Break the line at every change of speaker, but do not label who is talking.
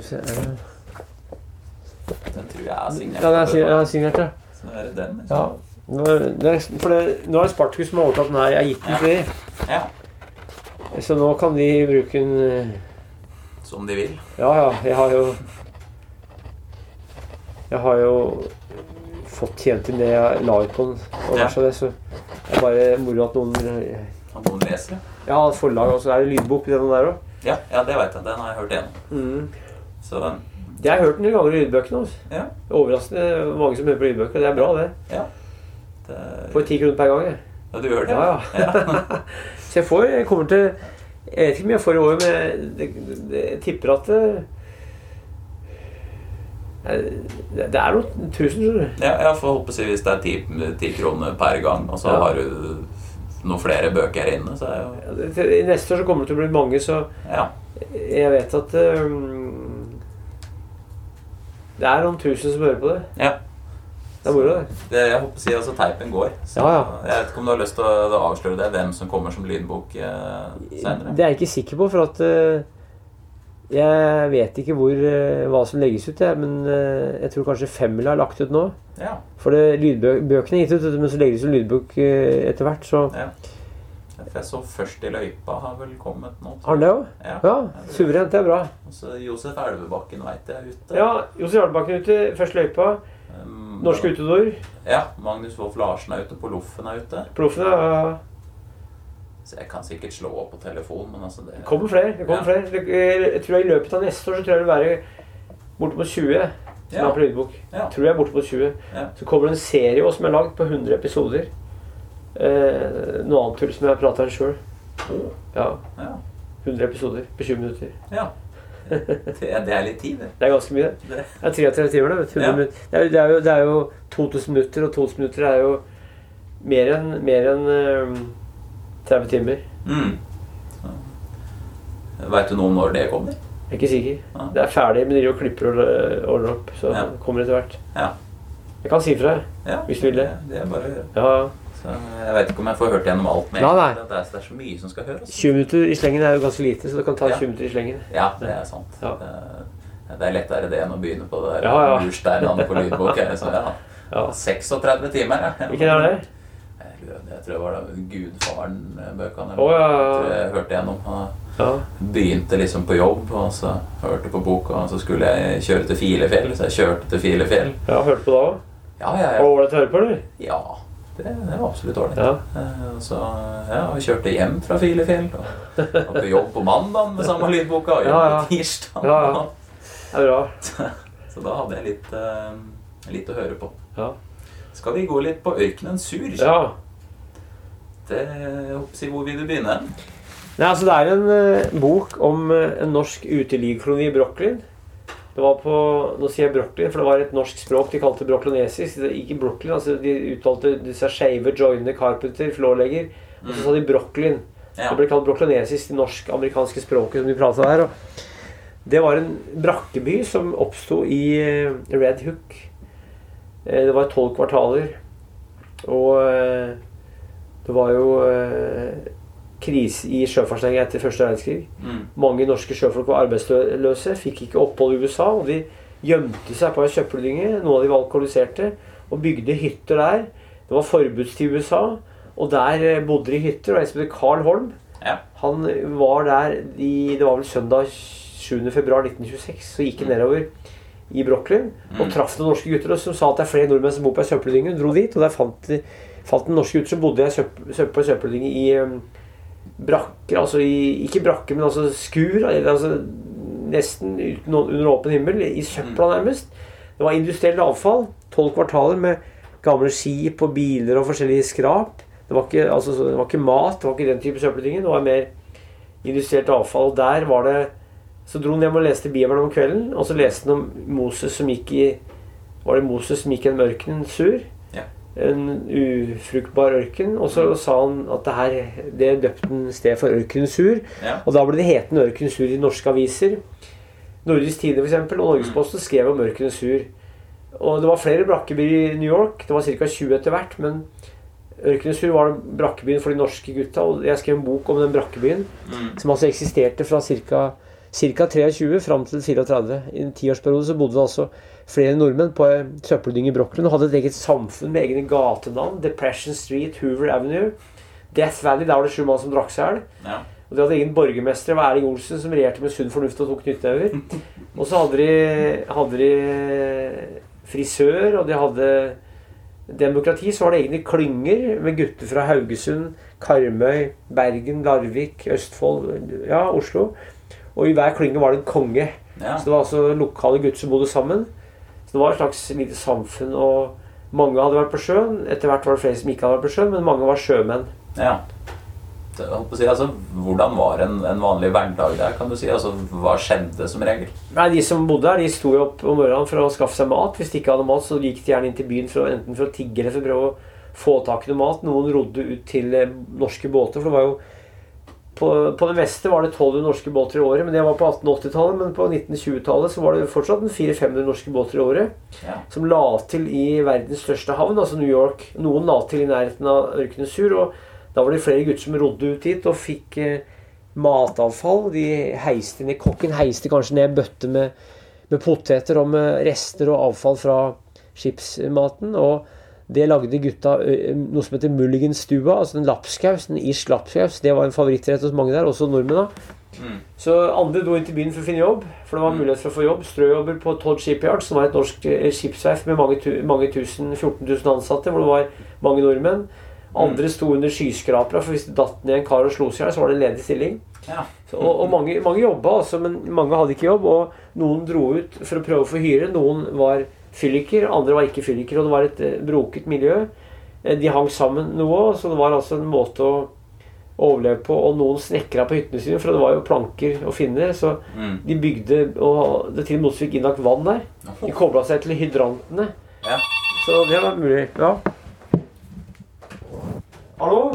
se eh,
Den tror jeg er signert.
Den er sig- den er signert, ja.
Så nå er det den.
ja.
liksom.
Nå er- Det er, for det, nå er det Spartkus som har overtatt den her. Jeg har gitt den til dem.
Ja.
Så nå kan de bruke den eh,
Som de vil.
Ja ja, jeg har jo Jeg har jo fått tjent inn det jeg la ut på den. Og
Ja.
vær så det, så det er bare moro at noen
At noen leser. det.
Jeg har et forlag, og så er det lydbok i den der òg.
Ja, ja det veit jeg. Den har jeg hørt igjen. Så um,
Jeg har hørt den noen ganger i lydbøkene. Altså.
Ja.
Overraskende mange som hører på lydbøker. Det er bra, det.
det
Får ti kroner per gang. Jeg.
Ja, du gjør det?
Ja, ja. Så jeg får Jeg kommer til Jeg vet ikke hvor mye jeg får i år, men jeg, det- det- jeg tipper at eh, det, det det er noen tusen, tror du.
Ja, jeg får håpe si hvis det er ti, ti kroner per gang, og så
Ja.
har du noen flere bøker her inne, så er jo
Ja, det- til- Neste år så kommer det til å bli mange, så
Ja.
jeg vet at um, Det er noen tusen som hører på det.
ja.
Det er moro, det.
Det, jeg håper si altså teipen går. Så
Ja, ja.
jeg vet ikke om du har lyst til å da avsløre det, hvem som kommer som lydbok eh, senere?
Det er jeg ikke sikker på, for at eh, jeg vet ikke hvor, eh, hva som legges ut. Jeg, men eh, jeg tror kanskje Femmila har lagt ut nå.
Ja.
For det, lydbøkene er gitt ut, vet du, men så legges det lydbok eh, etter hvert. Så
For jeg så Først i løypa har vel kommet nå. tror
har den det òg?
jeg. Ja.
Ja, suverent. Det er bra.
Og så Josef Elvebakken veit jeg er ute.
Ja, Josef Jarlbakken ute. Første løypa.
Um,
Norske utedoer.
Ja. Magnus Wolff Larsen er ute. På Loffen er ute.
Proffene. ja.
Så jeg kan sikkert slå opp på telefon, men altså det
Det kommer flere. Det kommer
Ja.
flere. Det- eh, Jeg tror jeg I løpet av neste år så tror jeg det vil være bortimot 20 som
Ja.
er på lydbok.
Ja.
Tror jeg er bortimot 20.
Ja.
Så kommer det en serie også som er lagd på 100 episoder. Eh, noe annet tull som jeg har prata om sjøl.
Oh.
Ja.
Ja.
100 episoder på 20 minutter.
ja. Det, det er litt tid, det.
Det er ganske mye. det.
Det-
Det er 33 timer. Det, vet du. 100
Ja.
minutter. det, er, jo- det, er jo, det er jo 2000 minutter, og 2000 minutter er jo mer enn mer enn, eh, 30 timer.
Mm. Veit du noe om når det kommer?
Jeg er ikke sikker.
Ja.
Det er ferdig, men de driver og klipper og øh, ordner opp. Så
Ja.
det kommer etter hvert.
Ja.
Jeg kan si fra.
Ja,
Hvis du vil det.
Det er bare å høre.
Ja,
Så jeg veit ikke om jeg får hørt gjennom alt mer.
Nei, nei.
Det, er, det er så mye som skal høres.
20 minutter i slengen er jo ganske lite, så du kan ta
Ja.
20 minutter i slengen.
Ja, det er sant.
Ja.
Det, det er lettere det enn å begynne på det der
Ja, ja.
lursteinene på lydbok. jeg, Så ja.
Ja.
36 timer, ja.
Hvilken er det?
Jeg lurer- Jeg tror det var da Gudfaren-bøkene.
Å, ja, ja, ja.
tror jeg hørte gjennom. og
Ja.
Begynte liksom på jobb, og så hørte på boka, og så skulle jeg kjøre til Filefjell. Så jeg kjørte til Filefjell.
Jeg har hørt på det òg.
Ja, ja,
Var
ja.
det ålreit å høre på, eller?
ja det, det var absolutt ålreit.
Ja.
Eh, Så ja, vi kjørte hjem fra Filefjell. Og var på jobb på mandag med samme lydboka. Og jobb
Ja, ja.
på tirsdag.
Ja, ja. Det er bra.
Så da hadde jeg litt, eh, litt å høre på.
Ja.
Skal vi gå litt på Ørkenen Sur?
ja.
Det, jeg håper å si, hvor vil du begynne?
Nei, altså Det er en eh, bok om eh, en norsk uteligkoloni i Brooklyn. Det var på, Nå sier jeg Brooklyn, for det var et norsk språk de kalte brooklynesisk. Det- Ikke Brooklyn, altså De uttalte disse skeive, joiner, carpenter, flålegger. Og så sa de Brooklyn.
Ja.
Det ble kalt brooklynesisk, det norsk-amerikanske språket som de prata der. Og det var en brakkeby som oppsto i eh, Red Hook. Eh, Det var tolv kvartaler. Og eh, det var jo eh, krise i sjøfartsnæringen etter første verdenskrig.
Mm.
Mange norske sjøfolk var arbeidsløse, fikk ikke opphold i USA, og de gjemte seg på ei søppeldynge. Noen av de var alkoholiserte, og bygde hytter der. Det var forbudstid i USA, og der eh, bodde de i hytter. Og en som heter Carl Holm,
Ja.
han var der i Det var vel søndag 7. februar 1926, så gikk han nedover i Brooklyn og
Mm.
traff noen norske gutter som sa at det er flere nordmenn som bor på ei søppeldynge. Dro dit, og der fant de falt en norsk gutt som bodde i ei søpp- søpp- på ei søppeldynge i um, brakker, altså i, ikke brakker, men altså skur, eller altså nesten uten, under åpen himmel, i søpla nærmest. Det var industrielt avfall, tolv kvartaler med gamle skip og biler og forskjellige skrap. Det var ikke, altså, så- det var ikke mat, det var ikke den type søppeldynger, det var mer industrielt avfall. Og der var det Så dro han hjem og leste Bibelen om kvelden, og så leste han om Moses som gikk i Var det Moses som gikk gjennom ørkenen sur?
Ja.
En ufruktbar ørken. Og så sa han at det her Det døpte han sted for Ørkenen sur.
Ja.
Og da ble det hetende Ørkenen sur i norske aviser. Nordisk Tide for eksempel, og Norgesposten skrev om Ørkenen sur. Og det var flere brakkebyer i New York. Det var ca. 20 etter hvert. Men Ørkenen sur var brakkebyen for de norske gutta. Og jeg skrev en bok om den brakkebyen
Mm.
som altså eksisterte fra ca. Ca. 23 fram til 34. I en tiårsperiode så bodde det altså flere nordmenn på en søppeldynge i Brooklyn og hadde et eget samfunn med egne gatenavn. Depression Street, Hoover Avenue. Death Valley, der var det sju mann som drakk seg i hjel.
Ja.
Og de hadde egen borgermester, det var Erling Olsen, som regjerte med sunn fornuft og tok knyttnever. Og så hadde de, hadde de frisør, og de hadde demokrati. Så var det egne klynger med gutter fra Haugesund, Karmøy, Bergen, Larvik, Østfold, ja, Oslo. Og i hver klynge var det en konge.
Ja.
Så det var altså lokale gutter som bodde sammen. Så det var et slags lite samfunn, og mange hadde vært på sjøen. Etter hvert var det flere som ikke hadde vært på sjøen, men mange var sjømenn.
ja. Så Jeg holdt på å si, altså, hvordan var en, en vanlig hverdag der? kan du si? Altså, Hva skjedde som regel?
Nei, De som bodde her, de sto jo opp om morgenen for å skaffe seg mat. Hvis de ikke hadde mat, så gikk de gjerne inn til byen for å, enten for å tigge eller for å prøve å få tak i noe mat. Noen rodde ut til eh, norske båter. for det var jo På, på det meste var det 1200 norske båter i året, men det var på 1880-tallet. Men på 1920-tallet så var det fortsatt en 400-500 norske båter i året
Ja.
som la til i verdens største havn, altså New York. Noen la til i nærheten av ørkenen Sur, og da var det flere gutter som rodde ut dit og fikk eh, matavfall. De heiste ned, Kokken heiste kanskje ned en bøtte med, med poteter og med rester og avfall fra skipsmaten. og det lagde gutta ø, noe som heter mulligenstua, altså en lapskaus, en irsk lapskaus. Det var en favorittrett hos mange der, også nordmenn. da.
Mm.
Så andre dro inn til byen for å finne jobb, for det var mulighet for å få jobb. Strøjobber på Todd Shipyard, som var et norsk eh, skipsverft med mange, tu mange tusen, 14 000 ansatte, hvor det var mange nordmenn. Andre sto under skyskrapere, for hvis det datt ned en kar og slo seg i hjel, så var det en ledig stilling.
Ja.
Så, og, og mange, mange jobba, altså, men mange hadde ikke jobb. Og noen dro ut for å prøve å få hyre. Noen var fylliker, andre var ikke fylliker. Og det var et eh, broket miljø. Eh, De hang sammen noe, så det var altså en måte å overleve på. Og noen snekra på hyttene sine, for det var jo planker å finne. Så
Mm.
de bygde Og det til og med også fikk innlagt vann der. De kobla seg til hydrantene.
Ja.
Så det var mulig. Ja. Hallo?